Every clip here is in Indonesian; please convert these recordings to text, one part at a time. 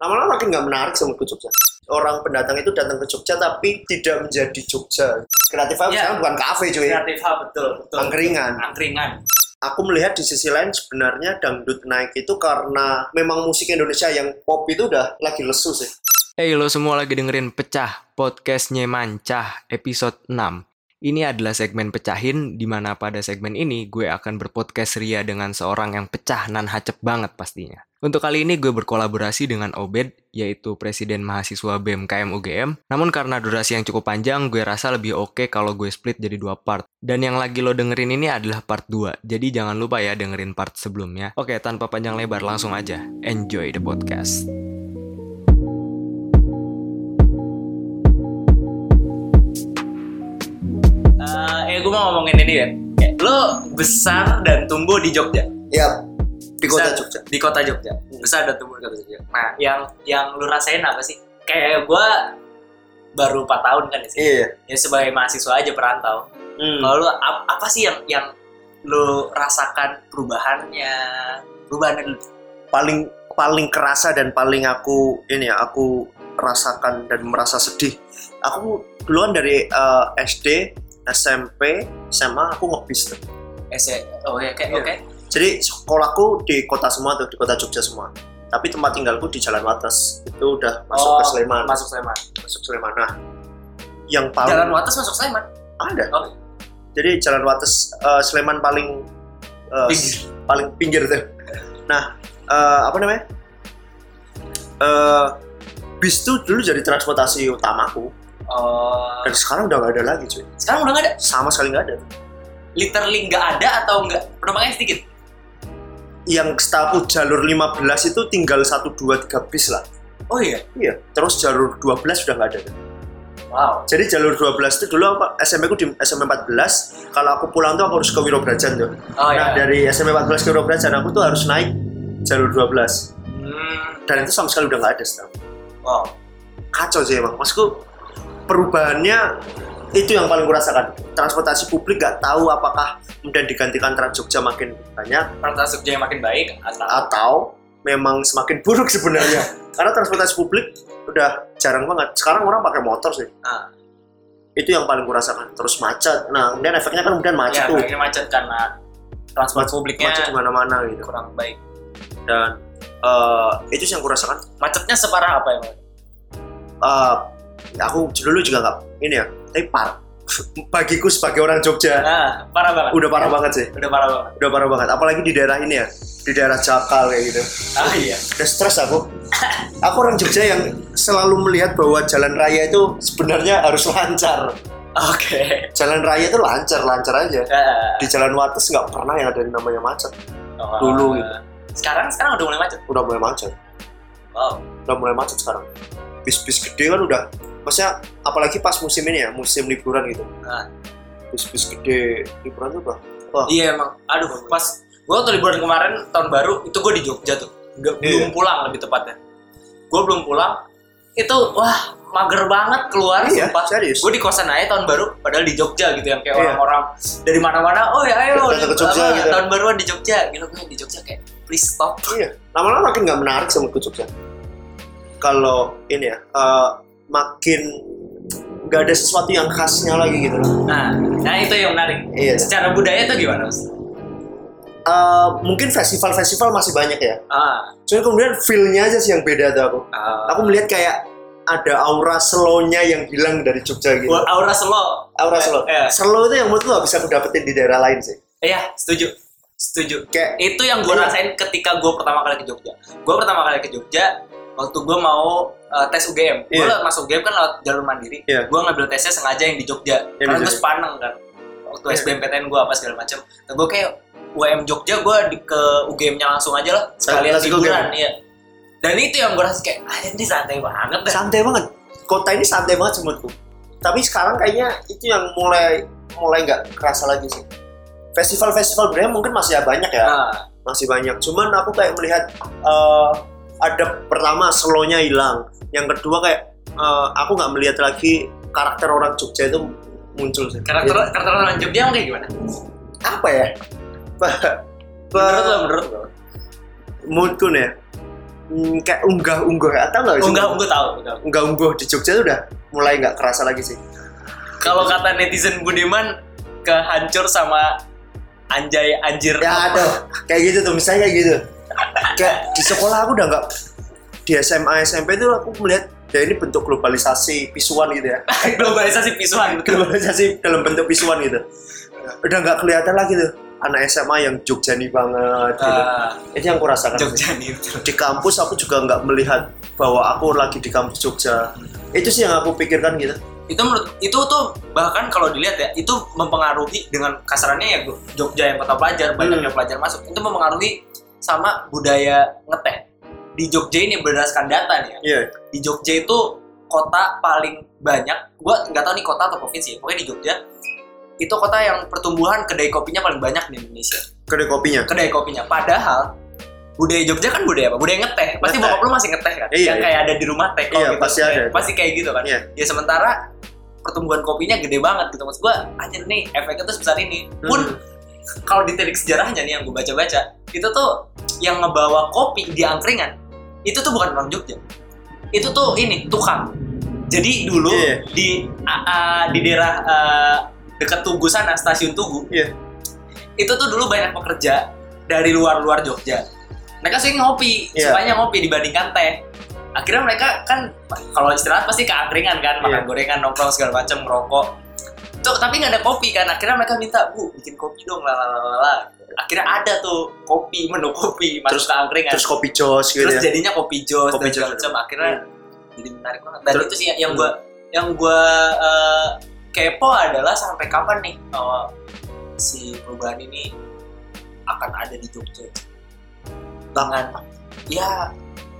lama-lama makin nggak menarik sama ke Jogja orang pendatang itu datang ke Jogja tapi tidak menjadi Jogja kreatif hub Iya. sekarang bukan kafe cuy kreatif hub betul betul angkringan angkringan aku melihat di sisi lain sebenarnya dangdut naik itu karena memang musik Indonesia yang pop itu udah lagi lesu sih Hey lo semua lagi dengerin Pecah, podcastnya Mancah, episode 6. Ini adalah segmen Pecahin, di mana pada segmen ini gue akan berpodcast ria dengan seorang yang pecah nan hacep banget pastinya. Untuk kali ini gue berkolaborasi dengan Obed, yaitu Presiden Mahasiswa BMKM UGM. Namun karena durasi yang cukup panjang, gue rasa lebih oke kalau gue split jadi dua part. Dan yang lagi lo dengerin ini adalah part 2, jadi jangan lupa ya dengerin part sebelumnya. Oke, tanpa panjang lebar langsung aja. Enjoy the podcast. Eh, eh gue mau ngomongin ini ya Kayak, lo besar dan tumbuh di Jogja ya di kota Besar- Jogja Hmm. di kota Jogja besar dan tumbuh di kota Jogja nah yang yang lu rasain apa sih kayak gue baru 4 tahun kan di sini. iya ya sebagai mahasiswa aja perantau hmm. kalau lu ap- apa sih yang yang lu rasakan perubahannya perubahan yang paling paling kerasa dan paling aku ini ya aku rasakan dan merasa sedih aku duluan dari eh, SD SMP SMA aku ngebis tuh. S- oh ya oke Iya. oke Jadi sekolahku di kota semua tuh, di kota Jogja semua. Tapi tempat tinggalku di Jalan Wates. Itu udah masuk Oh, ke Sleman. masuk Sleman masuk Sleman. Nah, yang paling jalan Wates masuk Sleman ada. Oh. Jadi Jalan Wates eh, Sleman paling eh, Pinggir. paling pinggir tuh. Nah, eh, apa namanya? Eh, bis tuh dulu jadi transportasi utamaku oh dan sekarang udah gak ada lagi cuy sekarang udah nggak ada sama sekali nggak ada literally nggak ada atau nggak penumpangnya sedikit yang setahu jalur 15 itu tinggal 1, 2, 3 bis lah oh iya Iya, terus jalur 12 sudah nggak ada. wow Jadi jalur 12 itu dulu apa SMP ku di SMP 14, kalau aku pulang tuh aku harus ke Wirobrajan tuh. oh nah, iya dari SMP 14 ke Wirobrajan aku tuh harus naik jalur 12. Hmm, Dan itu sama sekali udah nggak ada sekarang. wow Kacau sih emang. Maksudku perubahannya itu yang paling kurasakan. Transportasi publik nggak tahu apakah kemudian digantikan Trans Jogja makin banyak Perantas Jogja yang makin baik atau Ah, atau memang semakin buruk sebenarnya. Karena transportasi publik udah jarang banget. Sekarang orang pakai motor sih. Ah. itu yang paling kurasakan terus macet nah kemudian efeknya kan kemudian macet ya, tuh akhirnya macet karena transportasi publiknya macet di mana-mana gitu kurang baik dan eh, itu sih yang kurasakan macetnya separah apa emang Eh, aku dulu juga nggak ini ya tapi par bagiku sebagai orang Jogja nah parah banget udah parah banget sih udah parah banget udah parah banget apalagi di daerah ini ya di daerah Jakal kayak gitu ah iya udah stres aku aku orang Jogja yang selalu melihat bahwa jalan raya itu sebenarnya harus lancar oke jalan raya itu lancar lancar aja Ah, di jalan Wates nggak pernah yang ada yang namanya macet oh. dulu gitu. sekarang sekarang udah mulai macet udah mulai macet wow udah mulai macet sekarang bis-bis gede kan udah maksudnya apalagi pas musim ini ya musim liburan gitu Ah. bis-bis gede liburan tuh udah iya emang aduh pas gue waktu liburan kemarin tahun baru itu gue di Jogja tuh nggak Iya. belum pulang lebih tepatnya gue belum pulang itu wah mager banget keluar Iya, Nah, sumpah serius. gue di kosan aja tahun baru padahal di Jogja gitu yang kayak Iya. orang-orang dari mana-mana oh ya ayo Datang ke Jogja apa, gitu. tahun baruan di Jogja gitu gue di Jogja kayak please stop iya lama-lama makin nggak menarik sama ke Jogja kalau ini ya eh, makin nggak ada sesuatu yang khasnya lagi gitu loh nah nah itu yang menarik Iya. secara budaya itu gimana Mas? Eh, mungkin festival-festival masih banyak ya ah cuma kemudian feel-nya aja sih yang beda tuh aku ah. aku melihat kayak ada aura slow-nya yang hilang dari Jogja gitu Gua- aura slow aura slow Eh, eh. slow itu yang menurutku nggak bisa aku dapetin di daerah lain sih Iya, setuju. Setuju. Kayak- itu yang gue Iya. rasain ketika gue pertama kali ke Jogja. Gue pertama kali ke Jogja waktu gue mau uh, tes UGM. Gue Iya. masuk UGM kan lewat jalur mandiri. Iya. Gue ngambil tesnya sengaja yang di Jogja. Yang di karena gue Jogja. sepaneng kan. Waktu Iya. SBMPTN gue apa segala macam. Nah, gue kayak UM Jogja gue ke UGM-nya langsung aja lah sekalian Langsung ke liburan. Iya. Dan itu yang gue rasa kayak ah, ini santai banget dah. santai banget kota ini santai banget sih menurutku tapi sekarang kayaknya itu yang mulai mulai nggak kerasa lagi sih festival-festival budaya mungkin masih banyak ya Nah, masih banyak cuman aku kayak melihat eh, ada pertama slownya hilang yang kedua kayak eh, aku nggak melihat lagi karakter orang Jogja itu muncul sih karakter Iya. karakter orang Jogja emang kayak gimana? apa ya Ba- ba- Menurut lo, menurut lo. moodku nih ya, hmm, kayak unggah-ungguh atau nggak sih? Unggah unggah tahu. unggah. Unggah-ungguh di Jogja tuh udah mulai nggak kerasa lagi sih. Kalau kata netizen Budiman kehancur sama anjay anjir. Ya ada kayak gitu tuh misalnya kayak gitu. Kayak di sekolah aku udah nggak di SMA SMP tuh aku melihat ya ini bentuk globalisasi pisuan gitu ya. Globalisasi pisuan betul. globalisasi dalam bentuk visual gitu udah nggak kelihatan lagi tuh anak SMA yang Jogjani banget gitu. Ah, itu yang aku rasakan Jogja nih betul. di kampus aku juga nggak melihat bahwa aku lagi di kampus Jogja itu sih yang aku pikirkan gitu itu menurut itu tuh bahkan kalau dilihat ya itu mempengaruhi dengan kasarannya ya Jogja yang kota pelajar banyaknya pelajar masuk itu mempengaruhi sama budaya ngeteh di Jogja ini berdasarkan data nih ya iya di Jogja itu kota paling banyak gua nggak tahu nih kota atau provinsi ya. pokoknya di Jogja itu kota yang pertumbuhan kedai kopinya paling banyak di Indonesia kedai kopinya kedai kopinya padahal budaya Jogja kan budaya apa budaya ngeteh pasti Ngeteh. bokap lu masih ngeteh kan Iya, yang iya. kayak ada di rumah teko Iya, gitu pasti ada. pasti kayak gitu kan Iya. ya sementara pertumbuhan kopinya gede banget gitu maksud gua anjir nih efeknya tuh sebesar ini pun Hmm. kalau ditilik sejarahnya nih yang gue baca-baca itu tuh yang ngebawa kopi di angkringan itu tuh bukan orang Jogja itu tuh ini tukang jadi dulu Iya. di a- a- di daerah eh, dekat Tugu sana stasiun Tugu Iya. itu tuh dulu banyak pekerja dari luar-luar Jogja mereka sering ngopi Iya. sukanya ngopi dibandingkan teh akhirnya mereka kan kalau istirahat pasti ke angkringan kan Iya. makan gorengan nongkrong segala macam ngerokok tuh tapi nggak ada kopi kan akhirnya mereka minta bu bikin kopi dong lalalala akhirnya ada tuh kopi menu kopi masuk Terus- ke angkringan terus iya. terus, kopi jos gitu ya jadinya kopi jos Kopi dan segala jos. macam akhirnya Iya. jadi menarik banget dan Terus- Hmm. itu sih yang- yang gua yang gua eh, kepo adalah sampai kapan nih eh, si perubahan ini akan ada di Jogja tangan ya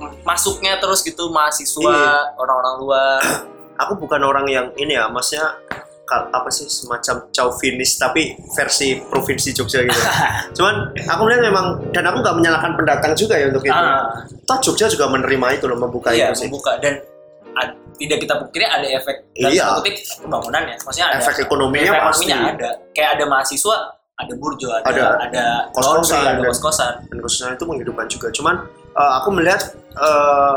m- masuknya terus gitu mahasiswa Iya. orang-orang luar aku bukan orang yang ini ya maksudnya kal- apa sih semacam chauvinis tapi versi provinsi Jogja gitu cuman aku melihat memang dan aku nggak menyalahkan pendatang juga ya untuk itu Ah. toh Jogja juga menerima itu loh membuka itu iya, gitu sih membuka dan ad- tidak kita pukiri ada efek dalam Iya. tanda kutip pembangunannya maksudnya ada efek ekonominya ya. efek pasti ekonominya ada kayak ada mahasiswa ada burjo ada ada, Ada kos-kosan, laundry, ada dan- kos-kosan dan khususnya itu menghidupkan juga. Cuman eh, aku melihat eh,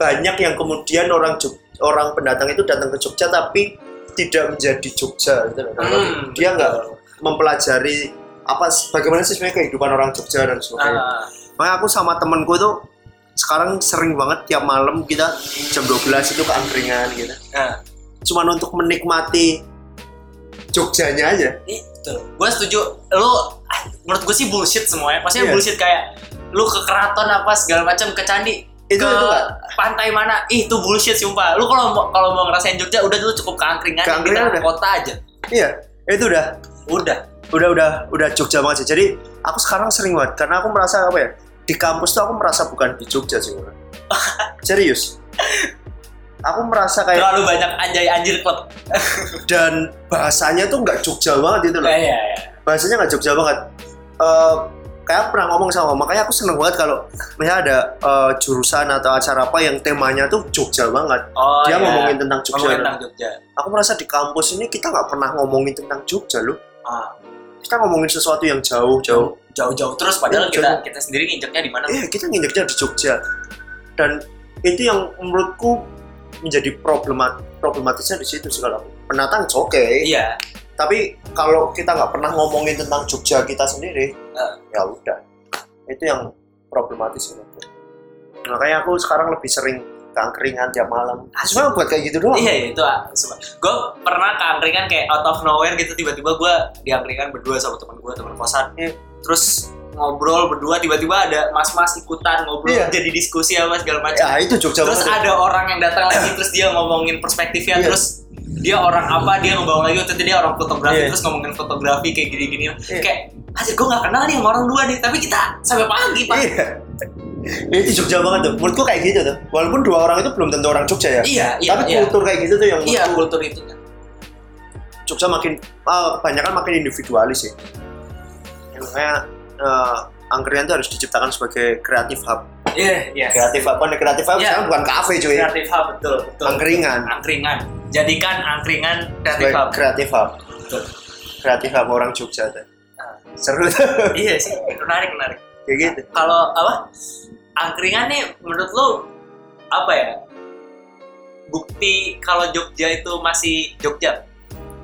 banyak yang kemudian orang Jog- orang pendatang itu datang ke Jogja tapi tidak menjadi Jogja gitu loh. Karena dia Hmm, betul. nggak mempelajari apa bagaimana sih sebenarnya kehidupan orang Jogja dan sebagainya. Ah, Makanya aku sama temenku itu sekarang sering banget tiap malam kita jam 12 itu ke angkringan gitu. nah, Cuman untuk menikmati Jogjanya aja. Iya, betul. Gue setuju. Lu, ah, menurut gue sih bullshit semuanya. Maksudnya Iya. bullshit kayak lu ke keraton apa segala macam ke candi Itu- itu ke nggak? pantai mana ih itu bullshit sumpah lu kalau mau kalau mau ngerasain Jogja udah dulu cukup ke angkringan Ke di angkringan tengah udah. kota aja Iya, itu udah udah udah udah udah Jogja banget sih. Jadi aku sekarang sering banget karena aku merasa apa ya di kampus tuh aku merasa bukan di Jogja sih Bro. serius aku merasa kayak terlalu banyak anjay anjir klub dan bahasanya tuh nggak Jogja banget itu loh Eh, iya iya bahasanya nggak Jogja banget Eh, kayak aku pernah ngomong sama makanya aku seneng banget kalau misalnya ada eh, jurusan atau acara apa yang temanya tuh Jogja banget oh dia iya. ngomongin tentang Jogja ngomongin tentang Jogja aku merasa di kampus ini kita nggak pernah ngomongin tentang Jogja loh Ah, kita ngomongin sesuatu yang jauh-jauh jauh-jauh terus padahal Iya, kita kita sendiri nginjeknya di mana eh kita nginjeknya di Jogja dan itu yang menurutku menjadi problemat problematisnya di situ sih kalau aku. pendatang it's oke iya tapi kalau kita nggak pernah ngomongin tentang Jogja kita sendiri Eh. ya udah itu yang problematis menurutku makanya aku sekarang lebih sering ke angkringan tiap malam sebenarnya buat kayak gitu doang Iya iya, itu gue pernah ke angkringan kayak out of nowhere gitu tiba-tiba gue di angkringan berdua sama teman gue teman kosan Iya. terus ngobrol berdua tiba-tiba ada mas-mas ikutan ngobrol Iya. jadi diskusi apa segala ya macam itu Jogja terus banget. ada orang yang datang lagi terus dia ngomongin perspektifnya Iya. terus dia orang apa dia ngebawa lagi waktu itu dia orang fotografi Iya. terus ngomongin fotografi kayak gini-gini kayak anjir gue gak kenal nih sama orang dua nih tapi kita sampai pagi pak Iya. itu Jogja banget tuh menurutku kayak gitu tuh walaupun dua orang itu belum tentu orang Jogja ya iya iya tapi iya kultur kayak gitu tuh yang iya menurutku kultur itu kan Jogja makin banyak kan makin individualis ya. Ya, Makanya eh, angkringan itu harus diciptakan sebagai kreatif hub. iya iya Kreatif hub kan kreatif hub Iya. sekarang bukan kafe cuy. kreatif hub betul betul Angkringan. angkringan jadikan angkringan Sebagai kreatif hub Kreatif hub. Betul. Kreatif hub orang Jogja tuh. Ah. Seru tuh. iya sih menarik menarik Kayak gitu. kalau apa angkringan nih menurut lu apa ya bukti kalau Jogja itu masih Jogja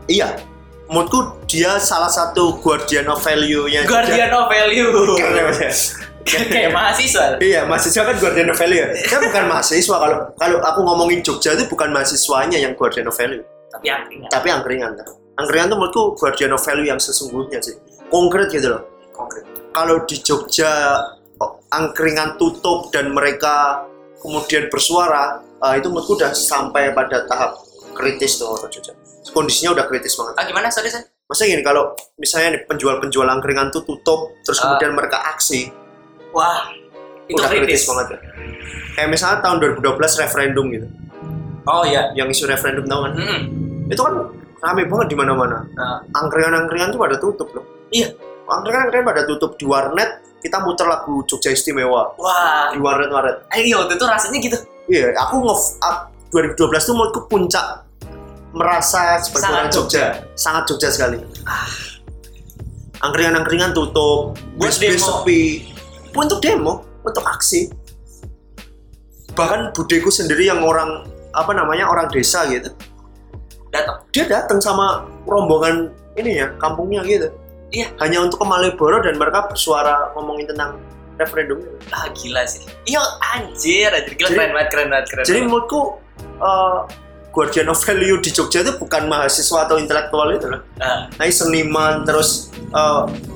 Iya. Menurutku dia salah satu guardian of value-nya. Jogja. guardian of value Keren ya. kayak mahasiswa Iya, mahasiswa kan guardian of value. Saya bukan mahasiswa kalau kalau aku ngomongin Jogja itu bukan mahasiswanya yang guardian of value, tapi angkringan tapi angkringan. kan? Angkringan tuh menurutku guardian of value yang sesungguhnya sih. Konkret gitu loh. konkret Kalau di Jogja oh, angkringan tutup dan mereka kemudian bersuara, ah, itu menurutku udah sampai pada tahap kritis tuh orang Jogja. Kondisinya udah kritis banget. ah gimana sorry saya Masa gini kalau misalnya nih penjual-penjual angkringan tuh tutup terus Ah. kemudian mereka aksi, wah itu udah kritis. kritis banget ya. Kayak misalnya tahun 2012 referendum gitu, oh iya Hmm. yang isu referendum tau kan? Mm-mm. Itu kan rame banget di mana-mana. Ah. Angkringan-angkringan tuh pada tutup loh. Iya. Angkringan-angkringan kan pada tutup di warnet, kita muter lagu Jogja Istimewa wah di warnet-warnet. eh iya waktu itu rasanya gitu Iya, aku nge up 2012 tuh menurutku puncak merasa sebagai Sangat Ah. orang Jogja. sangat Jogja sekali. Angkringan-angkringan tutup, Buat bis-bis demo. sepi. Untuk demo, untuk aksi. Bahkan budeku sendiri yang orang apa namanya orang desa gitu, datang dia datang sama rombongan ini ya kampungnya gitu. Iya. Hanya untuk ke Malioboro dan mereka bersuara ngomongin tentang referendum. itu. ah gila sih iya anjir anjir gila Jadi- keren banget keren banget keren Jadi banget. menurutku eh, guardian of value di Jogja itu bukan mahasiswa atau intelektual itu loh. Ah. Tapi seniman terus eh,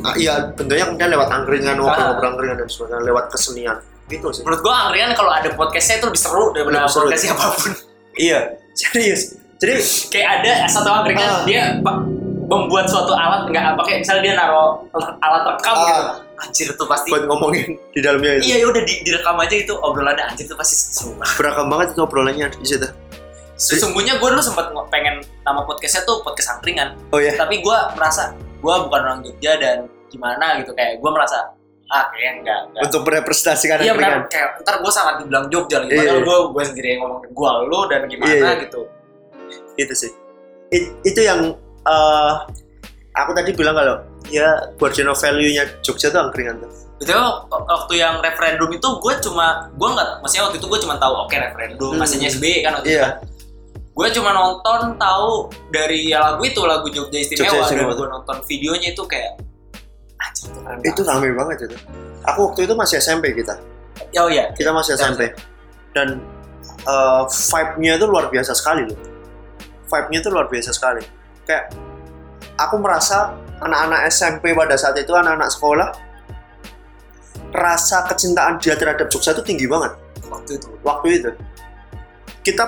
ah, iya bentuknya kemudian lewat angkringan, ngobrol-ngobrol angkringan dan sebagainya, lewat kesenian. Gitu sih. menurut gua angkringan kalau ada podcastnya itu lebih seru daripada Lebih seru. podcast siapapun Iya, serius. Jadi kayak ada satu angkringan Ah. dia pa- membuat suatu alat nggak pakai misalnya dia naro alat rekam Ah. gitu anjir tuh pasti buat ngomongin di dalamnya itu iya ya udah di, direkam aja itu obrolannya anjir tuh pasti seru banget. beragam banget itu obrolannya di situ. sesungguhnya gua dulu sempat ngo- pengen nama podcastnya tuh podcast angkringan Oh iya. tapi gua merasa gua bukan orang Jogja dan gimana gitu kayak gua merasa ah kayaknya enggak, enggak. Untuk merepresentasikan Iya angkringan. benar kayak ntar gue sangat dibilang Jogja lagi Iya, padahal iya. gue gue sendiri yang ngomong gue lu dan gimana Iya, iya. gitu Itu sih. It- itu yang eh, aku tadi bilang kalau ya guardian of value-nya Jogja itu angkringan tuh. Betul, waktu yang referendum itu gue cuma gue nggak, maksudnya waktu itu gue cuma tahu oke referendum, Hmm. masihnya SBY kan waktu itu. Iya, Gue cuma nonton tahu dari ya lagu itu lagu Jogja Istimewa, Jogja Istimewa. dan gue nonton videonya itu kayak anjir itu keren itu banget. rame banget itu. Aku waktu itu masih SMP kita. Ya, oh iya, kita masih SMP dan eh, vibe-nya itu luar biasa sekali loh vibe-nya itu luar biasa sekali kayak aku merasa anak-anak SMP pada saat itu anak-anak sekolah rasa kecintaan dia terhadap Jogja itu tinggi banget waktu itu. waktu itu kita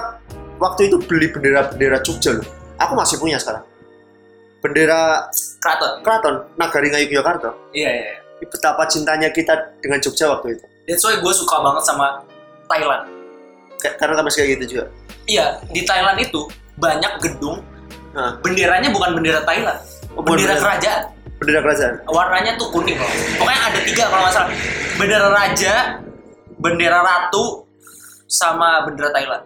waktu itu beli bendera-bendera Jogja loh aku masih punya sekarang bendera Keraton. keraton Nagaringa Yogyakarta Iya iya. iya. betapa cintanya kita dengan Jogja waktu itu That's why gue suka banget sama Thailand. Kayak- karena sama kayak gitu juga Iya, di Thailand itu banyak gedung Hah. benderanya bukan bendera Thailand, Oh, bukan bendera- bendera kerajaan. bendera kerajaan warnanya tuh kuning loh. Pokoknya ada tiga kalau nggak salah. Bendera raja, bendera ratu, sama bendera Thailand.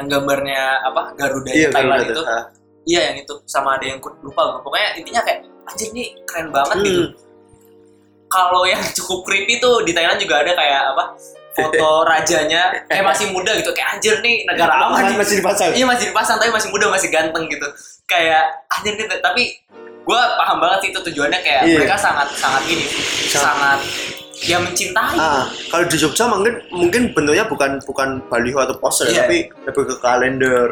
Yang gambarnya apa Garuda iya Thailand bener, itu. bener. Ah. Iya yang itu. Sama ada yang ku- lupa gue. Pokoknya intinya kayak anjir nih keren banget Hmm. gitu. Kalau yang cukup creepy tuh di Thailand juga ada kayak apa foto rajanya kayak masih muda gitu kayak anjir nih negara apa Tangan nih masih dipasang Iya masih dipasang tapi masih muda masih ganteng gitu. Kayak anjir gitu. Tapi gue paham banget sih itu tujuannya kayak Iya. mereka sangat sangat ini sangat ya mencintai. ah kalau di Jogja mungkin mungkin bentuknya bukan bukan baliho atau poster Iya. ya, tapi lebih ke kalender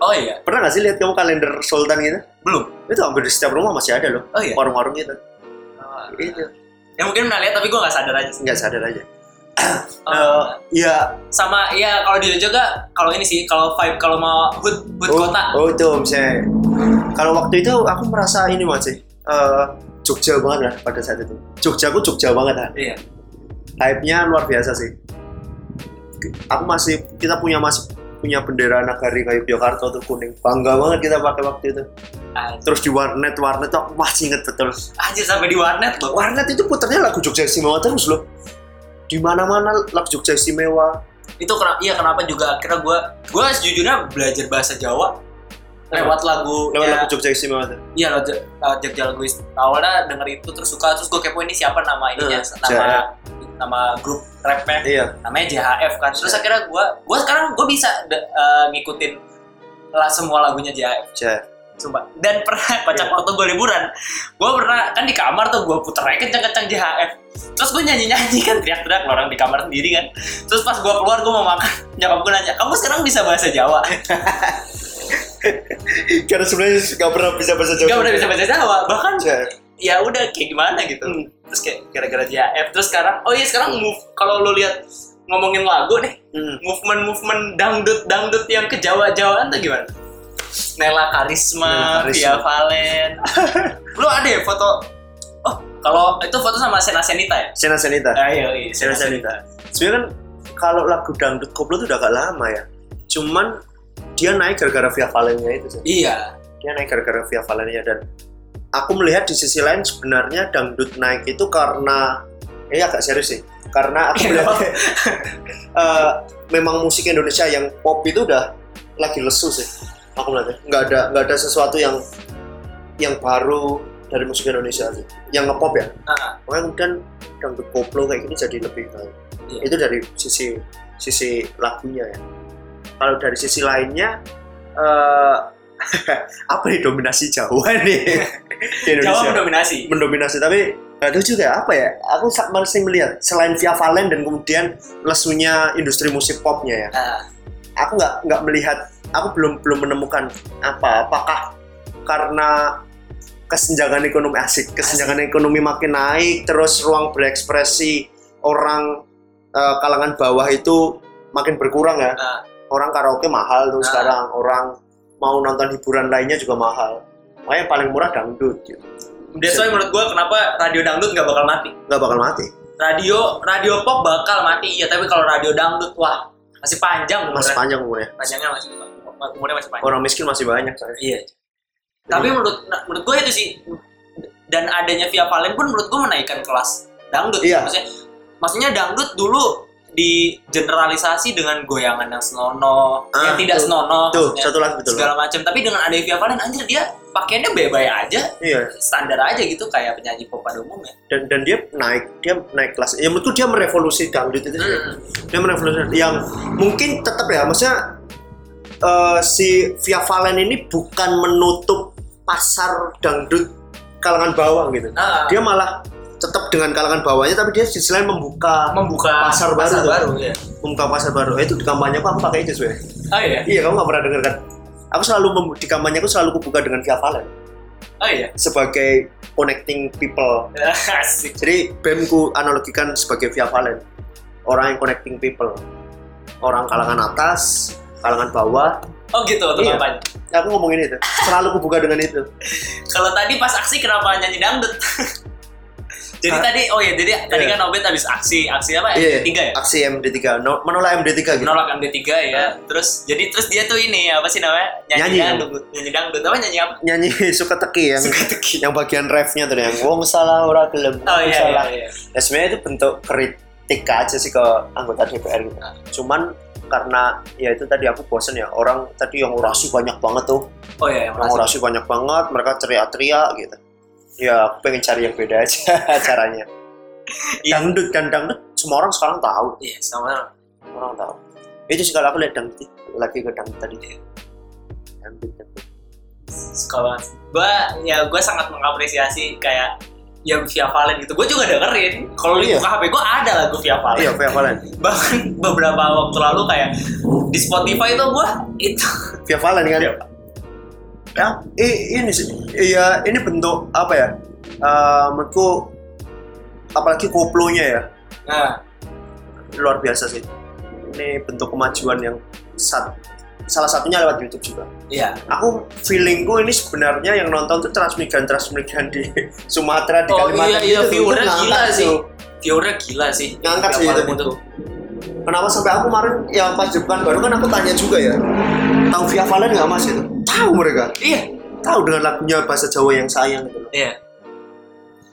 Oh iya pernah nggak sih lihat kamu kalender Sultan gitu belum. itu hampir di setiap rumah masih ada loh Oh iya. warung-warung gitu itu Ya mungkin pernah lihat tapi gue nggak sadar aja. Sih. nggak sadar aja Oh, Iya. Eh, Iya. sama ya kalau di Jogja kalau ini sih kalau vibe kalau mau hood hood oh, kota oh itu misalnya kalau waktu itu aku merasa ini masih eh Jogja banget lah pada saat itu Jogja aku Jogja banget lah Iya. hype-nya luar biasa sih. Aku masih kita punya masih punya bendera nagari kayu Yogyakarta tuh kuning. Bangga banget kita pakai waktu itu. Anj- Terus di warnet warnet tuh aku masih inget betul. Anjir sampai di warnet loh. Warnet itu puternya lagu Jogja Istimewa terus loh. Di mana-mana lagu Jogja Istimewa. Itu kena, iya kenapa juga akhirnya gue gue sejujurnya belajar bahasa Jawa lewat lagu Lewat lagu Jogja Istimewa tuh. Iya lo Jogja lagu awalnya denger itu terus suka terus gue kepo ini siapa nama ininya Eh, nama nama grup rapnya iya namanya JHF kan terus akhirnya gue gue sekarang gue bisa de- eh, ngikutin lah semua lagunya JHF Jack. Sumpah. Dan pernah kocak waktu gue liburan, gue pernah kan di kamar tuh gue puter aja kenceng-kenceng JHF. Terus gue nyanyi-nyanyi kan teriak-teriak loh orang di kamar sendiri kan. Terus pas gue keluar gue mau makan, nyokap gue nanya, kamu sekarang bisa bahasa Jawa? karena sebenarnya gak pernah bisa bahasa Jawa Gak udah bisa bahasa Jawa, bahkan Jack. ya udah kayak gimana gitu. Hmm. Terus kayak gara-gara JHF. Terus sekarang, oh iya sekarang move kalau lo lihat ngomongin lagu nih, Hmm. movement-movement dangdut-dangdut yang ke Jawa-Jawaan tuh gimana? Nela Nela Karisma, Karisma. Via Valen. Lu ada ya foto? Oh, kalau itu foto sama Sena Senita ya? Sena Senita Ayo, iya, Sena Senita sebenarnya kan kalau lagu dangdut koplo tuh udah agak lama ya cuman dia naik gara-gara Via Valennya itu Jack. Iya. dia naik gara-gara Via Valennya dan aku melihat di sisi lain sebenarnya dangdut naik itu karena ini agak serius sih karena aku melihat eh, memang musik Indonesia yang pop itu udah lagi lesu sih aku melihatnya nggak ada nggak ada sesuatu yang yang baru dari musik Indonesia sih yang ngepop ya Ah, makanya kemudian dangdut koplo kayak gini jadi lebih baik Iya. itu dari sisi sisi lagunya ya kalau dari sisi lainnya eh apa nih dominasi Jawa nih di Indonesia Jawa mendominasi. mendominasi tapi nggak tahu juga apa ya aku sa- masih melihat selain Via Valen dan kemudian lesunya industri musik popnya ya Ah, aku nggak nggak melihat aku belum belum menemukan apa apakah karena kesenjangan ekonomi asik kesenjangan ekonomi makin naik terus ruang berekspresi orang eh, kalangan bawah itu makin berkurang ya ah. orang karaoke mahal tuh Ah. sekarang orang mau nonton hiburan lainnya juga mahal makanya paling murah dangdut gitu That's why menurut gua kenapa radio dangdut nggak bakal mati. nggak bakal mati Radio radio pop bakal mati iya, tapi kalau radio dangdut wah masih panjang masih umurnya. panjang umurnya Panjangnya masih umurnya masih panjang. orang miskin masih banyak saya Iya. Tapi menurut nah, menurut gue itu sih dan adanya Via Valen pun menurut gue menaikkan kelas dangdut. Iya. Maksudnya, maksudnya dangdut dulu di generalisasi dengan goyangan yang senonoh, Ah, yang tuh. tidak senonoh, tuh maksudnya, satu lagi betul segala macam. Tapi dengan adanya Via Valen anjir dia pakaiannya bebay aja, iya standar aja gitu kayak penyanyi pop pada umumnya. dan dan dia naik dia naik kelas ya menurutku dia merevolusi dangdut itu sih. dia merevolusi yang mungkin tetap ya maksudnya eh, si Via Valen ini bukan menutup pasar dangdut kalangan bawah gitu Ah, dia malah tetap dengan kalangan bawahnya tapi dia di sisi lain membuka membuka pasar baru tuh. baru ya. membuka pasar baru Eh, itu di kampanye aku, aku pakai itu sebenarnya Oh iya. iya kamu nggak pernah denger kan aku selalu mem- di kampanye aku selalu kubuka dengan Via Valen Oh iya. sebagai connecting people Asik. Jadi BEM ku analogikan sebagai Via Valen. Orang yang connecting people. Orang kalangan atas, kalangan bawah. Oh gitu untuk Iya. kampanye. Aku ngomongin itu. Selalu kubuka dengan itu. Kalau tadi pas aksi kenapa nyanyi dangdut? jadi Hah? tadi oh ya jadi tadi Iya. kan Obet habis aksi aksi apa Iya. MD3 ya? Aksi MD3. No- menolak MD3 gitu. Menolak MD3 ya. Terus jadi terus dia tuh ini apa sih namanya? Nyanyi, kan, Nyanyi. dangdut, nyanyi dangdut apa nyanyi apa? Nyanyi suka teki yang Sukateki. yang bagian refnya tuh yang wong salah ora gelem Oh wong iya iya salah iya. Ya, sebenarnya itu bentuk kritik aja sih ke anggota DPR gitu. Cuman karena ya itu tadi aku bosen ya orang tadi yang orasi banyak banget tuh Oh iya yang Orang merasa. orasi banyak banget, mereka teriak-teriak gitu. Ya, aku pengen cari yang beda aja caranya. Iya. Dangdut dan dangdut, semua orang sekarang tahu. Iya sama. Orang tahu. Itu sih kalau aku lihat dangdut lagi ke dangdut tadi. Dangdut, dangdut. Sekolah. Gua ya gua sangat mengapresiasi kayak yang Via Valen gitu. Gua juga dengerin. Kalau di Iya. buka HP gua ada lagu Via Valen. Iya, Via Valen. Bahkan beberapa waktu lalu kayak di Spotify itu gua itu Via Valen kan? Iya. Ya, i- ini sih. Iya, ini bentuk apa ya? Eh, menurutku apalagi koplonya ya nah luar biasa sih. Ini bentuk kemajuan yang sat- salah satunya lewat YouTube juga. iya aku feelingku ini sebenarnya yang nonton tuh transmigran transmigran di Sumatera di Oh, Kalimantan iya, iya, gitu, viewernya ngangkat gila itu. sih. Fiora gila sih. Ngangkat sih itu Via Valen menurutku. kenapa sampai aku kemarin yang pas jebukan baru kan aku tanya juga ya tahu Via Valen nggak mas itu tahu mereka Iya, tahu dengan lagunya bahasa Jawa yang sayang gitu loh iya.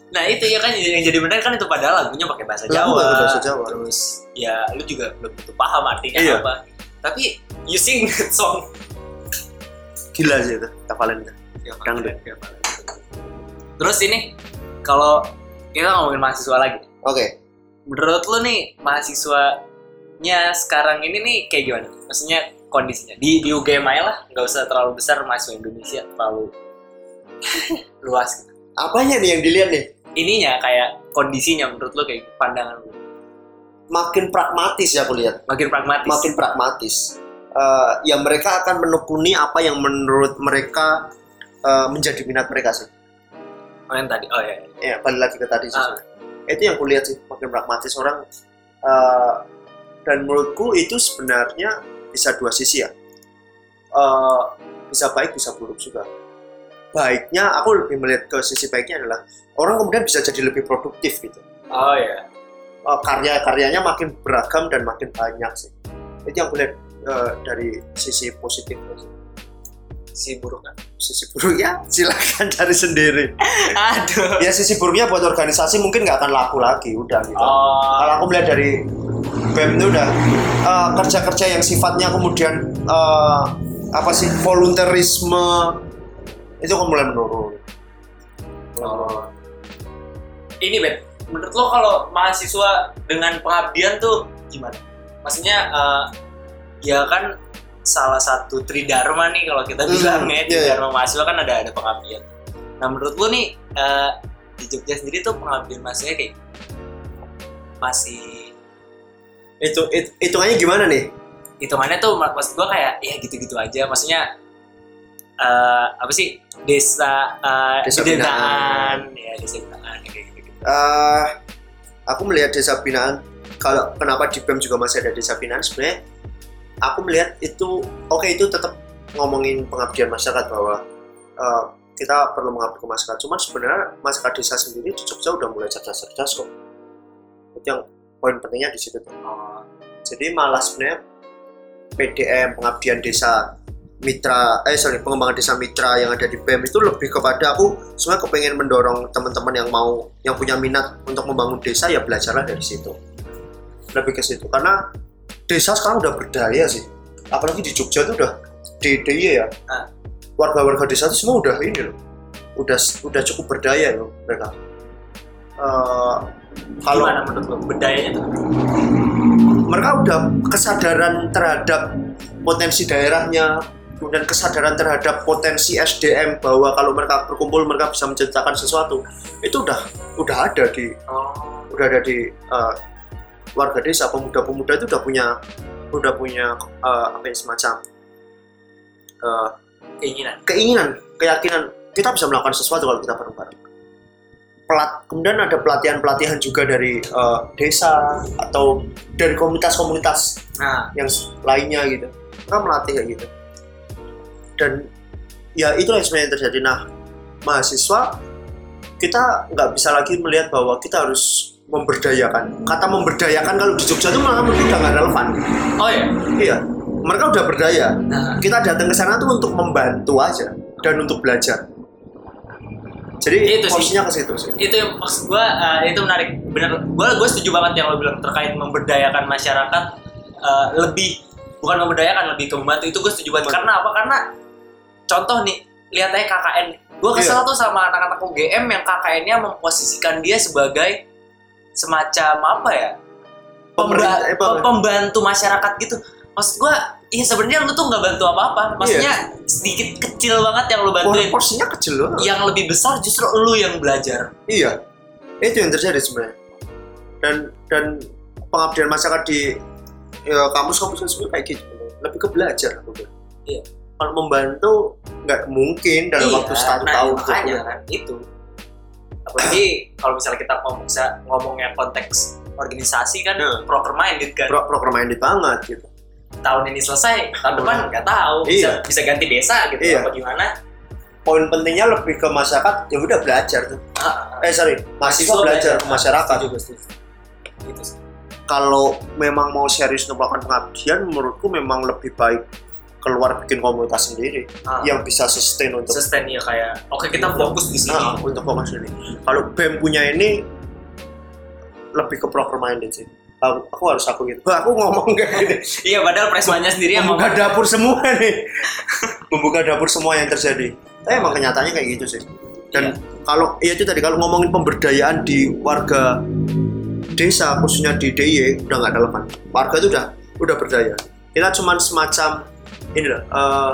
Nah itu ya kan yang jadi benar kan itu padahal lagunya pakai bahasa Lagu Jawa. pakai bahasa Jawa. Terus ya lu juga belum tentu paham artinya Iya. apa. Tapi you sing that song. gila sih itu Via Valen itu. Dangdut. Terus ini kalau kita ngomongin mahasiswa lagi. oke menurut lu nih mahasiswanya sekarang ini nih kayak gimana? Maksudnya kondisinya di di UGM aja lah, nggak usah terlalu besar mahasiswa Indonesia terlalu luas. Gitu. Apanya nih yang dilihat nih? Ininya kayak kondisinya menurut lu kayak pandangan lu Makin pragmatis ya aku lihat. makin pragmatis. Makin pragmatis. Eh, ya mereka akan menekuni apa yang menurut mereka eh, menjadi minat mereka sih. Oh, yang tadi. Oh ya. ya balik lagi ke tadi sih Ah. sebenarnya. itu yang kulihat sih makin pragmatis orang eh, dan menurutku itu sebenarnya bisa dua sisi ya Eh, bisa baik bisa buruk juga baiknya aku lebih melihat ke sisi baiknya adalah orang kemudian bisa jadi lebih produktif gitu Oh ya. Eh, karya-karyanya makin beragam dan makin banyak sih itu yang kulihat eh, dari sisi positifnya sih. Si kan? buruknya. sisi buruknya silakan cari sendiri Aduh. ya sisi buruknya buat organisasi mungkin nggak akan laku lagi udah gitu kalau Oh. aku melihat dari BEM itu udah eh, kerja-kerja yang sifatnya kemudian eh, apa sih volunteerisme itu kan mulai menurun. Oh. Ini Ben, menurut lo kalau mahasiswa dengan pengabdian tuh gimana? Maksudnya eh, ya kan salah satu tridharma nih kalau kita Hmm, bilang iya, ya, iya. tridharma mahasiswa kan ada ada pengabdian. Nah menurut lo nih eh, di Jogja sendiri tuh pengabdian mahasiswa kayak gimana? masih Itu it- hitungannya gimana nih? hitungannya tuh mak- maksud gua kayak ya gitu-gitu aja maksudnya eh, apa sih desa eh, Desa binaan ya desa binaan kayak gitu-gitu Eh, aku melihat desa binaan kalau kenapa di BEM juga masih ada desa binaan sebenarnya aku melihat itu oke itu tetap ngomongin pengabdian masyarakat bahwa eh, kita perlu mengabdi ke masyarakat cuman sebenarnya masyarakat desa sendiri di Jogja udah mulai cerdas-cerdas kok itu yang poin pentingnya di situ tuh. Oh, jadi malah sebenarnya PDM pengabdian desa mitra eh sorry pengembangan desa mitra yang ada di BEM itu lebih kepada aku sebenarnya kepengen mendorong teman-teman yang mau yang punya minat untuk membangun desa ya belajarlah dari situ lebih ke situ karena desa sekarang udah berdaya sih apalagi di Jogja tuh udah di DIY ya Ah. warga-warga desa itu semua udah ini loh udah udah cukup berdaya loh mereka Eh, kalau gimana menurut lo bedayanya tuh mereka udah kesadaran terhadap potensi daerahnya kemudian kesadaran terhadap potensi SDM bahwa kalau mereka berkumpul mereka bisa menciptakan sesuatu itu udah udah ada di oh udah ada di eh, warga desa pemuda-pemuda itu udah punya udah punya eh, apa ya semacam eh, keinginan keinginan keyakinan kita bisa melakukan sesuatu kalau kita bareng-bareng Pelat- kemudian ada pelatihan-pelatihan juga dari eh, desa atau dari komunitas-komunitas nah yang s- lainnya gitu kan melatih kayak gitu dan ya itu yang sebenarnya yang terjadi nah mahasiswa kita nggak bisa lagi melihat bahwa kita harus memberdayakan kata memberdayakan kalau di Jogja itu malah menurut udah nggak relevan oh ya iya mereka udah berdaya nah kita datang ke sana tuh untuk membantu aja dan untuk belajar jadi Itu sih. porsinya ke situ sih itu yang maksud gua eh, itu menarik bener gua gua setuju banget yang lo bilang terkait memberdayakan masyarakat eh, lebih bukan memberdayakan lebih ke membantu itu gue setuju banget Betul. karena apa karena contoh nih lihat aja KKN gue Iya. kesel tuh sama anak-anak UGM yang KKN-nya memposisikan dia sebagai semacam apa ya Pemerintah, Pemba- eh, apa? pembantu masyarakat gitu maksud gue ya sebenarnya lu tuh nggak bantu apa-apa Iya. maksudnya sedikit kecil banget yang lu bantuin porsinya kecil loh yang lebih besar justru lu yang belajar Iya, itu yang terjadi sebenarnya. Dan dan pengabdian masyarakat di ya, kampus-kampus kan sebenarnya kayak gitu, lebih ke belajar aku bilang. Iya. Kalau membantu nggak mungkin dalam waktu satu nah, tahun. makanya gitu. kan itu apalagi kalau misalnya kita ngomong sa- ngomongnya konteks organisasi kan Nah. proker minded kan Pro proker minded banget gitu. tahun ini selesai tahun Nah. depan nggak tahu bisa Iya. bisa ganti desa gitu Iya. apa gimana Poin pentingnya lebih ke masyarakat, ya udah belajar tuh. Ah, ah. Eh sorry, mahasiswa belajar ke Ah, masyarakat. setuju, setuju. Gitu sih. Kalau memang mau serius untuk melakukan pengabdian, menurutku memang lebih baik keluar bikin komunitas sendiri Ah. yang bisa sustain untuk sustain ya kayak oke kita fokus di sini Nah, untuk fokus ini. Kalau BEM punya ini lebih ke proper minded sih. Aku, aku harus aku gitu. Wah, aku ngomong kayak gini. iya padahal presmanya sendiri yang Membuka ngomong dapur semua nih. Membuka dapur semua yang terjadi. Tapi emang kenyataannya kayak iya gitu sih. Dan kalau ya itu tadi kalau ngomongin pemberdayaan di warga desa khususnya di DIY udah nggak relevan warga itu udah udah berdaya kita cuman semacam ini loh eh,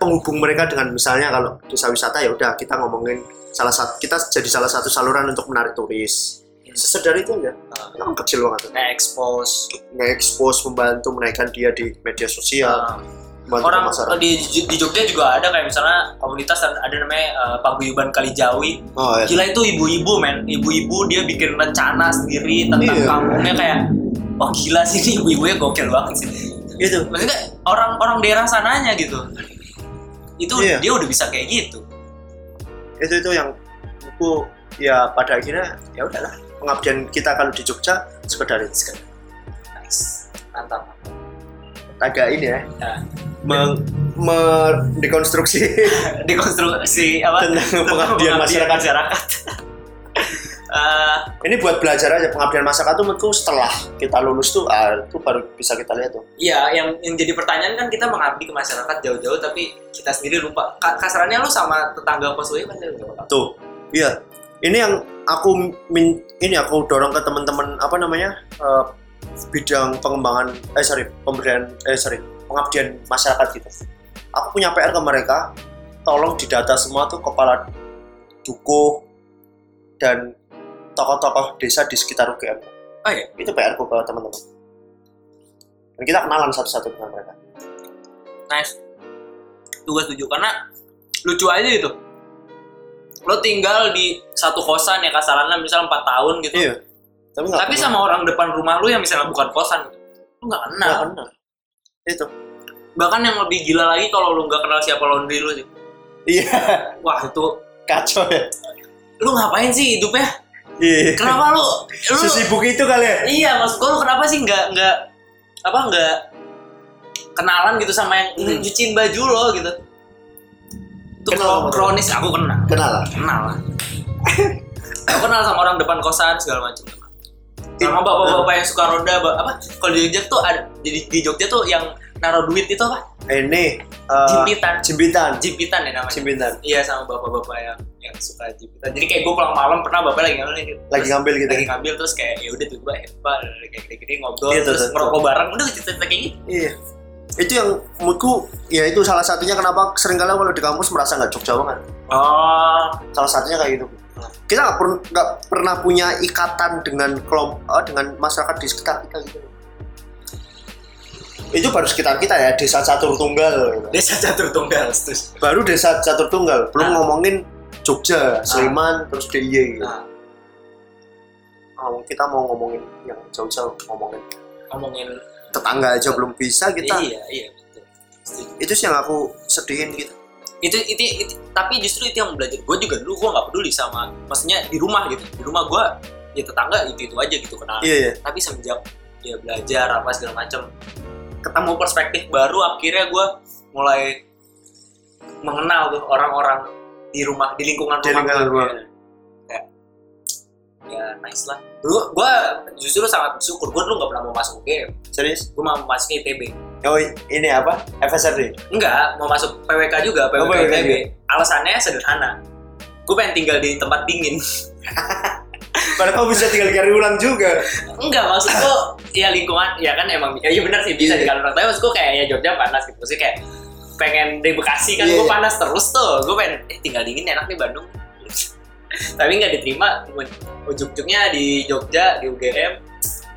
penghubung mereka dengan misalnya kalau desa wisata ya udah kita ngomongin salah satu kita jadi salah satu saluran untuk menarik turis sesederhana itu aja kita kan kecil banget ah, expose nge-expose membantu menaikkan dia di media sosial membantu ah, orang Iya, masyarakat di, di Jogja juga ada kayak misalnya komunitas ada ada namanya eh, Paguyuban Kalijawi oh, ya. gila itu ibu-ibu men ibu-ibu dia bikin rencana sendiri tentang Iya. kampungnya kayak wah gila sih ini ibu-ibunya gokil banget sih Gitu. maksudnya orang-orang daerah sananya gitu itu Iya. dia udah bisa kayak gitu itu itu yang aku ya pada akhirnya ya udahlah pengabdian kita kalau di Jogja sekedar itu sekedar nice mantap agak ini ya nah, meng- mendekonstruksi dekonstruksi apa Tentang pengabdian masyarakat. masyarakat. Eh, ini buat belajar aja pengabdian masyarakat tuh menurutku setelah kita lulus tuh ah, itu baru bisa kita lihat tuh Iya, yang yang jadi pertanyaan kan kita mengabdi ke masyarakat jauh-jauh tapi kita sendiri lupa. Ka- Kasarannya lu sama tetangga kos lu kan lupa. tuh iya ini yang aku min- ini aku dorong ke teman-teman apa namanya eh, bidang pengembangan eh sorry pemberdayaan eh sorry pengabdian masyarakat gitu aku punya PR ke mereka tolong didata semua tuh kepala dukuh dan tokoh-tokoh desa di sekitar UGM Oh iya? itu PR ku ke teman-teman dan kita kenalan satu-satu dengan mereka Nice. Tugas tujuh karena lucu aja gitu. Lo tinggal di satu kosan ya kasarannya misalnya 4 tahun gitu. iya tapi nggak tapi pernah- sama orang depan rumah lu yang misalnya bukan kosan gitu. Lu nggak kenal. nggak pernah itu Bahkan yang lebih gila lagi kalau lu nggak kenal siapa laundry lu sih. iya Wah, itu kacau ya lu ngapain sih hidupnya? iya Kenapa lu lu sesibuk itu kali ya Iya, maksud gue lu kenapa sih nggak nggak apa nggak kenalan gitu sama yang Hmm. nyuciin baju lo gitu. Itu Kenal kalau kronis aku kenal, kenal lah kenal lah. aku kenal sama orang depan kosan segala macam. kenal. Sama bapak-bapak yang suka roda, ba- apa? Kalau di Jogja tuh ada, jadi di Jogja tuh yang naruh duit itu apa? ini eh, Jimpitan, jimpitan jimpitan ya namanya. jimpitan Iya sama bapak-bapak yang yang suka jimpitan. Jadi kayak gue pulang malam pernah bapak lagi ngambil gitu. lagi ngambil gitu lagi ngambil terus kayak ya udah tiba hepa kayak gini-gini ngobrol Iya, terus betul, merokok bareng udah cerita-cerita kayak gitu iya itu yang menurutku ya itu salah satunya kenapa seringkali kalau di kampus merasa nggak Jogja banget oh salah satunya kayak gitu Nah. kita nggak per- nggak pernah punya ikatan dengan kelompok eh, dengan masyarakat di sekitar kita gitu itu baru sekitar kita ya desa catur tunggal gitu. desa catur tunggal terus baru desa catur tunggal belum Ah. ngomongin Jogja Nah. Sleman terus DIY gitu. Ah. Kalau kita mau ngomongin yang jauh-jauh ngomongin ngomongin tetangga aja belum bisa kita iya iya betul Setuju. itu sih yang aku sedihin gitu itu, itu itu- tapi justru itu yang belajar gue juga dulu gue nggak peduli sama maksudnya di rumah gitu di rumah gue ya tetangga itu itu aja gitu kenal iya iya tapi semenjak ya belajar apa segala macam ketemu perspektif baru akhirnya gue mulai mengenal tuh orang-orang di rumah di lingkungan Di rumah lingkungan gua. rumah. ya. ya nice lah dulu gue justru sangat bersyukur gue dulu nggak pernah mau masuk UGM serius gue mau masuk ITB oh ini apa FSRD enggak mau masuk PWK juga PWK, Oh, PWK ITB alasannya sederhana gue pengen tinggal di tempat dingin padahal kamu bisa tinggal cari ulang juga Enggak maksud gua ya lingkungan ya kan emang ya, ya benar sih bisa Iya. di kantor tapi maksud gua kayak ya Jogja panas gitu sih kayak pengen di Bekasi kan Iya, gua iya. panas terus tuh gua pengen eh, tinggal dingin enak nih Bandung tapi nggak diterima ujung-ujungnya di Jogja di UGM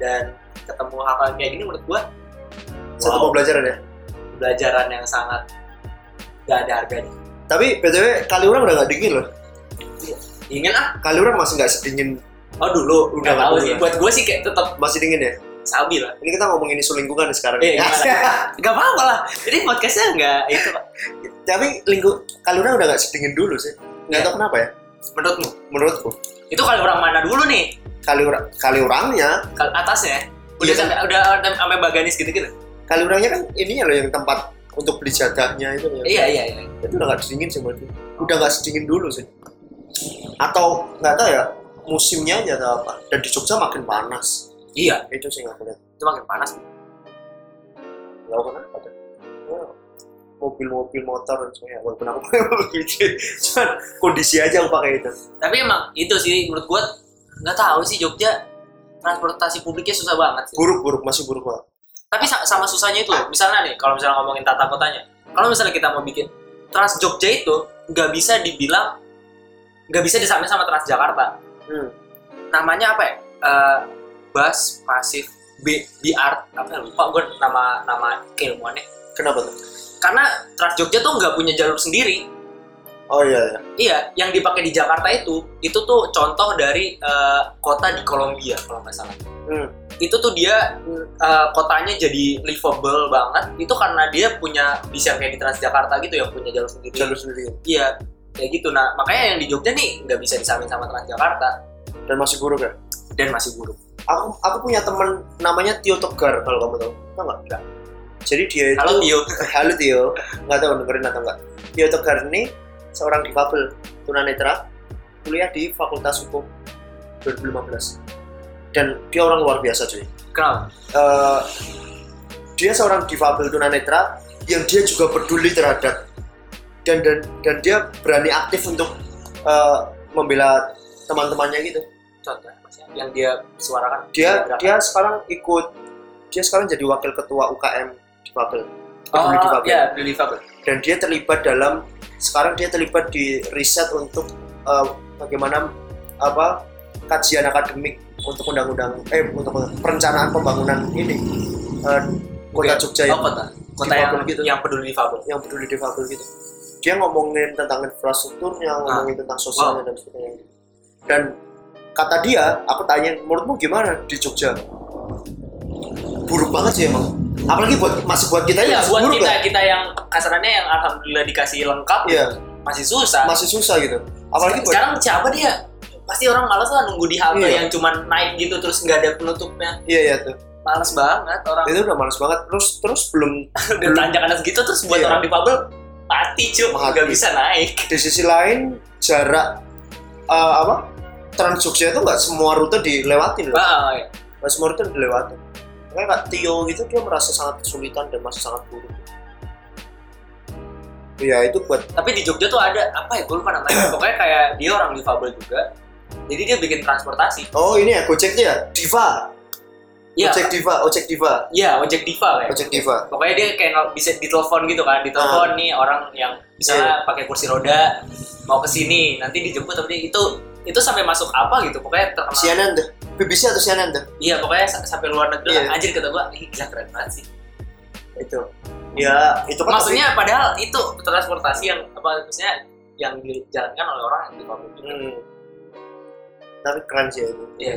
dan ketemu hal-hal kayak gini menurut gua satu wow, pembelajaran ya pembelajaran yang sangat gak ada harganya tapi btw kali orang udah nggak dingin loh ingin ah kali orang masih nggak sedingin oh dulu Udah udah tahu nggak sih dulu. buat gua sih kayak tetap masih dingin ya sabi lah ini kita ngomongin isu lingkungan sekarang Iya, gimana? nggak apa-apa lah ini podcastnya nggak itu Pak. tapi lingkup kali orang udah nggak sedingin dulu sih nggak Iya. tahu kenapa ya menurutmu menurutku itu kalau orang mana dulu nih kali ura- kali orangnya Kal- atasnya udah Iya. sampai udah udah sampai baganis gitu gitu kali orangnya kan ini loh yang tempat untuk beli jadahnya itu ya. loh. iya iya iya itu udah nggak dingin sih berarti udah nggak sedingin dulu sih atau nggak tahu ya musimnya aja atau apa dan di Jogja makin panas iya itu sih nggak kelihatan itu makin panas nggak tahu kenapa deh. Ya, mobil-mobil motor dan semuanya walaupun aku pakai mobil gitu cuman kondisi aja aku pakai itu tapi emang itu sih menurut gua nggak tahu sih Jogja transportasi publiknya susah banget sih. buruk buruk masih buruk banget Tapi sa- sama susahnya itu, loh. misalnya nih kalau misalnya ngomongin tata kotanya, kalau misalnya kita mau bikin Trans Jogja itu nggak bisa dibilang nggak bisa disamain sama Trans Jakarta. hmm. Namanya apa ya? Eh, bus pasif B, BR apa ya lupa gue nama nama keilmuannya. kenapa tuh Karena Trans Jogja tuh nggak punya jalur sendiri, oh iya iya Iya, yang dipakai di Jakarta itu, itu tuh contoh dari eh, kota di Kolombia kalau nggak salah. hmm. Itu tuh dia mm, eh, kotanya jadi livable banget, itu karena dia punya bisa kayak di Transjakarta gitu yang punya jalur sendiri. jalur sendiri Iya, kayak gitu. Nah, makanya yang di Jogja nih nggak bisa disamain sama Transjakarta dan masih buruk ya dan masih buruk. aku aku punya temen namanya Tio Tegar kalau kamu tahu tahu nggak Nggak. jadi dia itu Kalau Tio, halo Tio nggak tahu dengerin atau nggak Tio Tegar ini seorang difabel tunanetra kuliah di Fakultas Hukum 2015 dan dia orang luar biasa cuy kenapa? Eh, dia seorang difabel tunanetra yang dia juga peduli terhadap dan dan dan dia berani aktif untuk eh, membela teman-temannya gitu Contohnya maksudnya yang dia suarakan. dia gerakan. dia sekarang ikut dia sekarang jadi wakil ketua UKM di Babel oh, peduli difabel. iya, peduli difabel. dan dia terlibat dalam sekarang dia terlibat di riset untuk eh, bagaimana apa kajian akademik untuk undang-undang eh untuk perencanaan pembangunan ini eh, kota Oke. Jogja Oh, yang, kota. Kota yang, Difabel gitu. yang peduli difabel. yang peduli difabel gitu dia ngomongin tentang infrastrukturnya Ah. ngomongin tentang sosialnya dan sebagainya dan kata dia aku tanya menurutmu gimana di Jogja buruk banget sih emang apalagi buat masih buat kita ya Iya, buat buruk kita lah. kita yang kasarannya yang alhamdulillah dikasih lengkap Iya, masih susah. masih susah gitu apalagi buat sekarang siapa dia? Pasti orang malas lah nunggu di halte Iya. yang cuman naik gitu terus nggak ada penutupnya. iya iya tuh Males banget orang itu udah males banget terus terus belum udah tanjakan segitu terus buat Iya. orang difabel mati cuy Mati. nggak bisa naik. di sisi lain jarak eh, apa Transjogja itu nggak semua rute dilewatin loh Wah, iya. nggak semua rute dilewatin makanya kak Tio gitu dia merasa sangat kesulitan dan masih sangat buruk ya itu buat Tapi di Jogja tuh ada apa ya? Gue lupa namanya. Pokoknya kayak dia orang difabel juga. Jadi dia bikin transportasi. oh ini ya gojeknya ya diva Iya, ojek diva ojek diva iya ojek diva kayak. ojek Ah. diva pokoknya dia kayak nol- bisa ditelepon gitu kan ditelepon nih orang yang Iya. misalnya pakai kursi roda mau ke sini nanti dijemput tapi itu itu sampai masuk apa gitu pokoknya terkenal CNN tuh BBC atau CNN tuh iya pokoknya sa- sampai luar negeri Iya. lah. anjir kata gua ih gila keren banget sih itu ya itu kan maksudnya padahal itu transportasi yang apa maksudnya yang dijalankan oleh orang yang difabel tapi, Hmm. tapi keren sih itu iya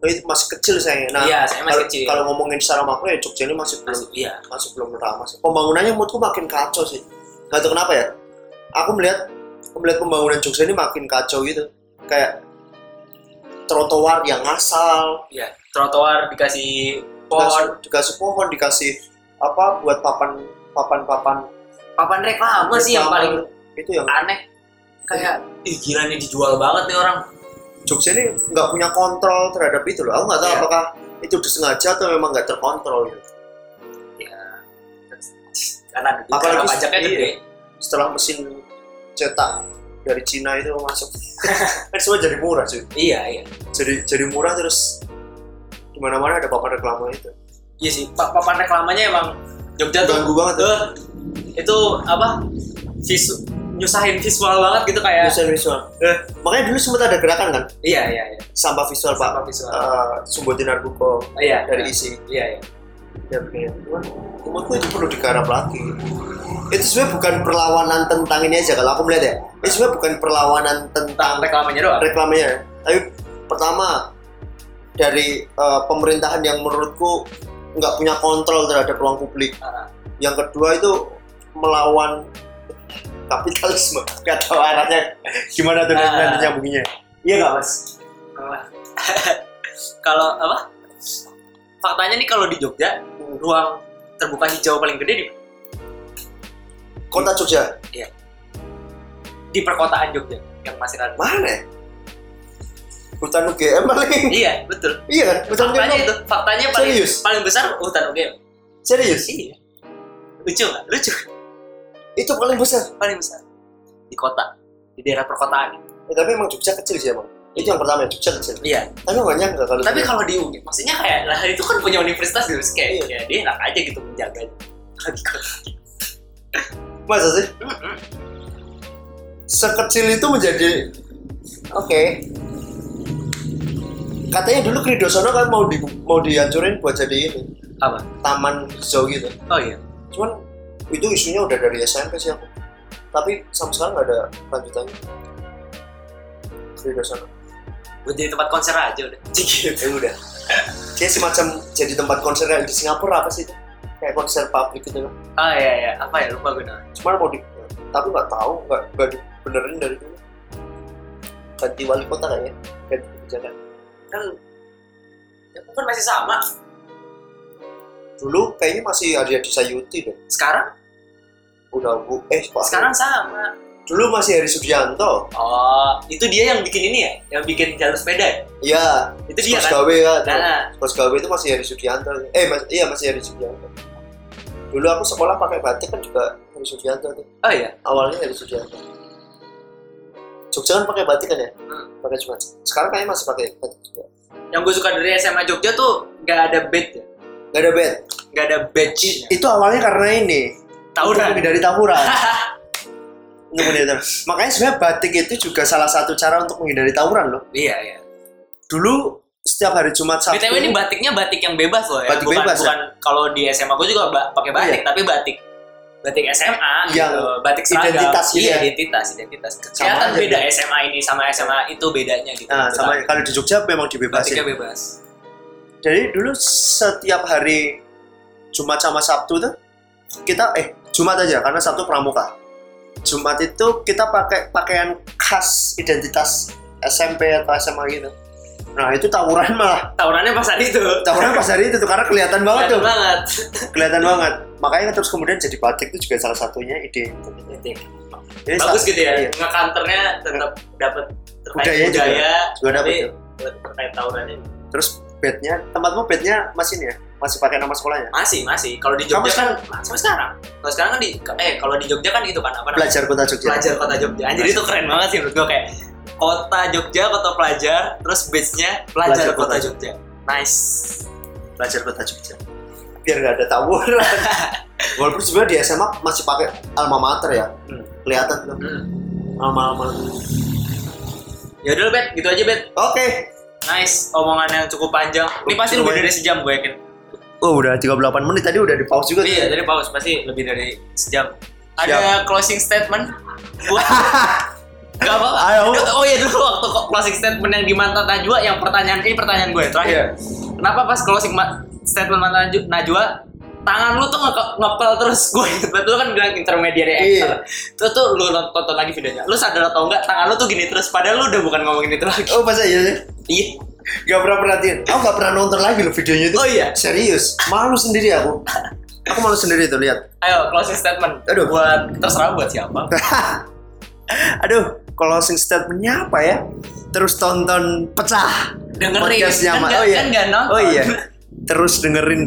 Oh, itu masih kecil sayangnya nah iya saya kalau, masih kecil kalau ngomongin secara makro ya Jogja ini masih belum masih iya masih belum ramah sih. Pembangunannya menurutku makin kacau sih. Gak tau kenapa ya. Aku melihat melihat pembangunan Jogja ini makin kacau gitu. Kayak trotoar yang ngasal, iya trotoar dikasih pohon dikasih, dikasih pohon, dikasih apa buat papan papan papan. papan reklama sih yang paling itu yang aneh kayak ih gila nih dijual banget nih orang Jogja ini nggak punya kontrol terhadap itu loh. Aku nggak tahu Iya. apakah itu disengaja atau memang nggak terkontrol gitu. ya karena ada duit, Apalagi karena pajaknya iya. gede Setelah mesin cetak dari Cina itu masuk, kan semua jadi murah sih. iya iya jadi jadi murah terus di mana mana ada papan reklama itu iya sih pa- papan reklamanya emang Jogja tuh ganggu banget tuh eh, itu apa visu, nyusahin visual banget gitu kayak visual visual eh, makanya dulu sempat ada gerakan kan iya iya iya sampah visual pak Sampah visual Eh, sumbuti narkoba Oh, iya dari iya. isi iya iya ya begini Cuman, menurutku itu perlu digarap lagi itu sebenarnya bukan perlawanan tentang ini aja kalau aku melihat ya itu sebenarnya bukan perlawanan tentang reklamanya doang reklamanya tapi pertama dari eh, pemerintahan yang menurutku nggak punya kontrol terhadap ruang publik Ah. yang kedua itu melawan kapitalisme gak tahu arahnya gimana tuh Ah. nanti nyambunginnya iya nggak mas kalau apa faktanya nih kalau di Jogja ruang terbuka hijau paling gede di, kota Jogja di perkotaan Jogja yang masih ada mana ya? hutan UGM paling iya betul iya kan hutan faktanya UGM itu faktanya paling Serius? paling besar hutan UGM serius Iya. Lucu nggak? Lucu. itu paling besar Paling besar. Di kota. Di daerah perkotaan. Eh, tapi emang Ya, Jogja kecil sih emang itu yang pertama yang Jogja kecil Iya. tapi nggak nyangka kalau Tapi dia- kalau di UI, maksudnya kayak lah itu kan punya universitas gitu, terus kayak ya, dia enak aja gitu menjaganya. masa sih sekecil itu menjadi oke katanya dulu Kridosono kan mau di mau dihancurin buat jadi ini Apa? taman hijau gitu Oh iya. cuman itu isunya udah dari SMP sih aku tapi sampai sekarang nggak ada lanjutannya Kridosono Buat jadi tempat konser aja udah. Cik, ya udah. Dia semacam jadi tempat konser yang di Singapura apa sih itu? Kayak konser publik gitu loh. Oh iya iya, apa ya lupa gue namanya. Cuman mau di tapi nggak tahu nggak nggak dibenerin dari dulu. Ganti wali kota kayaknya. Ganti kebijakan. Kan ya, kan masih sama. Dulu kayaknya masih Arya Desa Yuti deh. Sekarang Udah bu eh Pak. sekarang sama. Dulu masih Heri Sugianto. Oh, itu dia yang bikin ini ya, yang bikin jalur sepeda ya? Iya. Itu dia kan? Gawe kan. Nah, Pas gawe itu masih Heri Sugianto. Eh mas, iya masih Heri Sugianto. Dulu aku sekolah pakai batik kan juga Heri Sugianto tuh. oh iya. awalnya dari Sugianto Jogja kan pakai batik kan ya Hmm. pakai cuma sekarang kayaknya masih pakai batik juga Yang gue suka dari SMA Jogja tuh gak ada bed ya. gak ada band Gak ada ya? badge itu awalnya karena ini Tawuran. Untuk dari tawuran untuk menghindari tawuran. makanya sebenarnya batik itu juga salah satu cara untuk menghindari tawuran loh Iya, iya. dulu setiap hari Jumat Sabtu BTW ini batiknya batik yang bebas loh ya. Batik bukan, bebas ya? Iya. bukan kalau di SMA gue juga ba- pakai batik, tapi batik batik SMA Yang gitu, batik seragam. identitas gitu ya? iya, identitas, identitas. Kelihatan aja. beda SMA ini sama SMA itu bedanya gitu. nah sama Tetap kalau di Jogja memang dibebasin batiknya bebas. jadi dulu setiap hari Jumat sama Sabtu tuh kita eh Jumat aja karena Sabtu pramuka. Jumat itu kita pakai pakaian khas identitas SMP atau SMA gitu. Nah itu tawuran malah Tawurannya pas saat itu. tawuran pas hari itu tuh karena kelihatan banget Kelihatan tuh banget. kelihatan banget. Makanya terus kemudian jadi batik itu juga salah satunya ide. itu. Jadi Bagus sa- gitu ya. iya, Ngekanternya tetap dapat terkait Budaya budaya, juga. juga dapet tapi tuh. terkait tawurannya. Terus bednya tempatmu bednya masih ini ya masih pakai nama sekolahnya. Masih, masih. Kalau di Kamu Jogja kan sampai sekarang. Kalau sekarang kan di eh kalau di Jogja kan itu kan apa namanya? Pelajar kota Jogja. pelajar kota Jogja. Anjir itu keren banget sih menurut gue kayak kota Jogja, kota pelajar, terus beachnya Pelajar pelajar, kota, kota Jogja. Nice. belajar kota Jogja biar nggak ada tawuran walaupun sebenarnya di SMA masih pakai alma mater ya Hmm. kelihatan tuh alma alma Ya udah bet, gitu aja bet. oke Nice, omongan yang cukup panjang. Ini pasti Cukup ya. lebih dari panjang. sejam gue yakin. oh udah 38 menit tadi udah di pause juga tuh. Iya, dari paus pasti lebih dari sejam. Ada Siap. closing statement? Gua Gak apa-apa. Ayo. Oh iya dulu waktu kok closing statement yang di Manta Najwa yang pertanyaan ini pertanyaan gue terakhir. Iya. Kenapa pas closing ma- statement Manta Naju- Najwa tangan lu tuh nge- ngepel terus gue inget banget lu kan bilang intermediary Iya. actor. Terus tuh lu nont- tonton lagi videonya. Lu sadar atau enggak tangan lu tuh gini terus padahal lu udah bukan ngomongin itu lagi. oh masa iya sih Iya. Gak pernah perhatiin aku gak pernah nonton lagi loh videonya itu Oh iya. serius malu sendiri aku aku malu sendiri tuh lihat Ayo closing statement. Aduh. Buat terserah buat siapa. aduh closing statementnya apa ya terus tonton pecah dengerin podcastnya kan, Ma- nggak- oh iya. kan nggak nonton Oh iya. Terus dengerin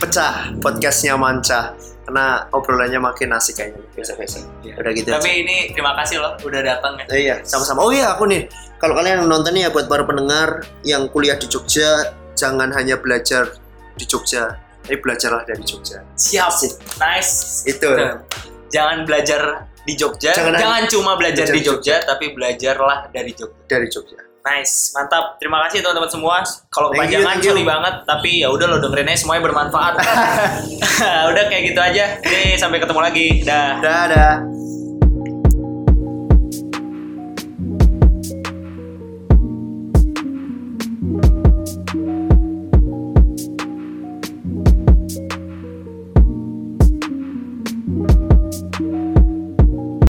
pecah podcastnya Manca karena obrolannya makin asik kayaknya biasa-biasa. Udah gitu. Iya. tapi ini terima kasih loh udah datang ya Eh, iya, sama-sama. Oh iya, aku nih. Kalau kalian yang nonton nih ya buat para pendengar yang kuliah di Jogja, jangan hanya belajar di Jogja, tapi belajarlah dari Jogja. siap Sip. nice Itu. Nah, jangan belajar di Jogja jangan, Jangan- cuma belajar, belajar di di Jogja, tapi belajarlah dari Jogja Dari Jogja. nice mantap terima kasih teman-teman semua kalau Thank you, kepanjangan thank you. sorry banget tapi ya udah lo dengerin aja semuanya bermanfaat udah kayak gitu aja nih sampai ketemu lagi dah Dadah.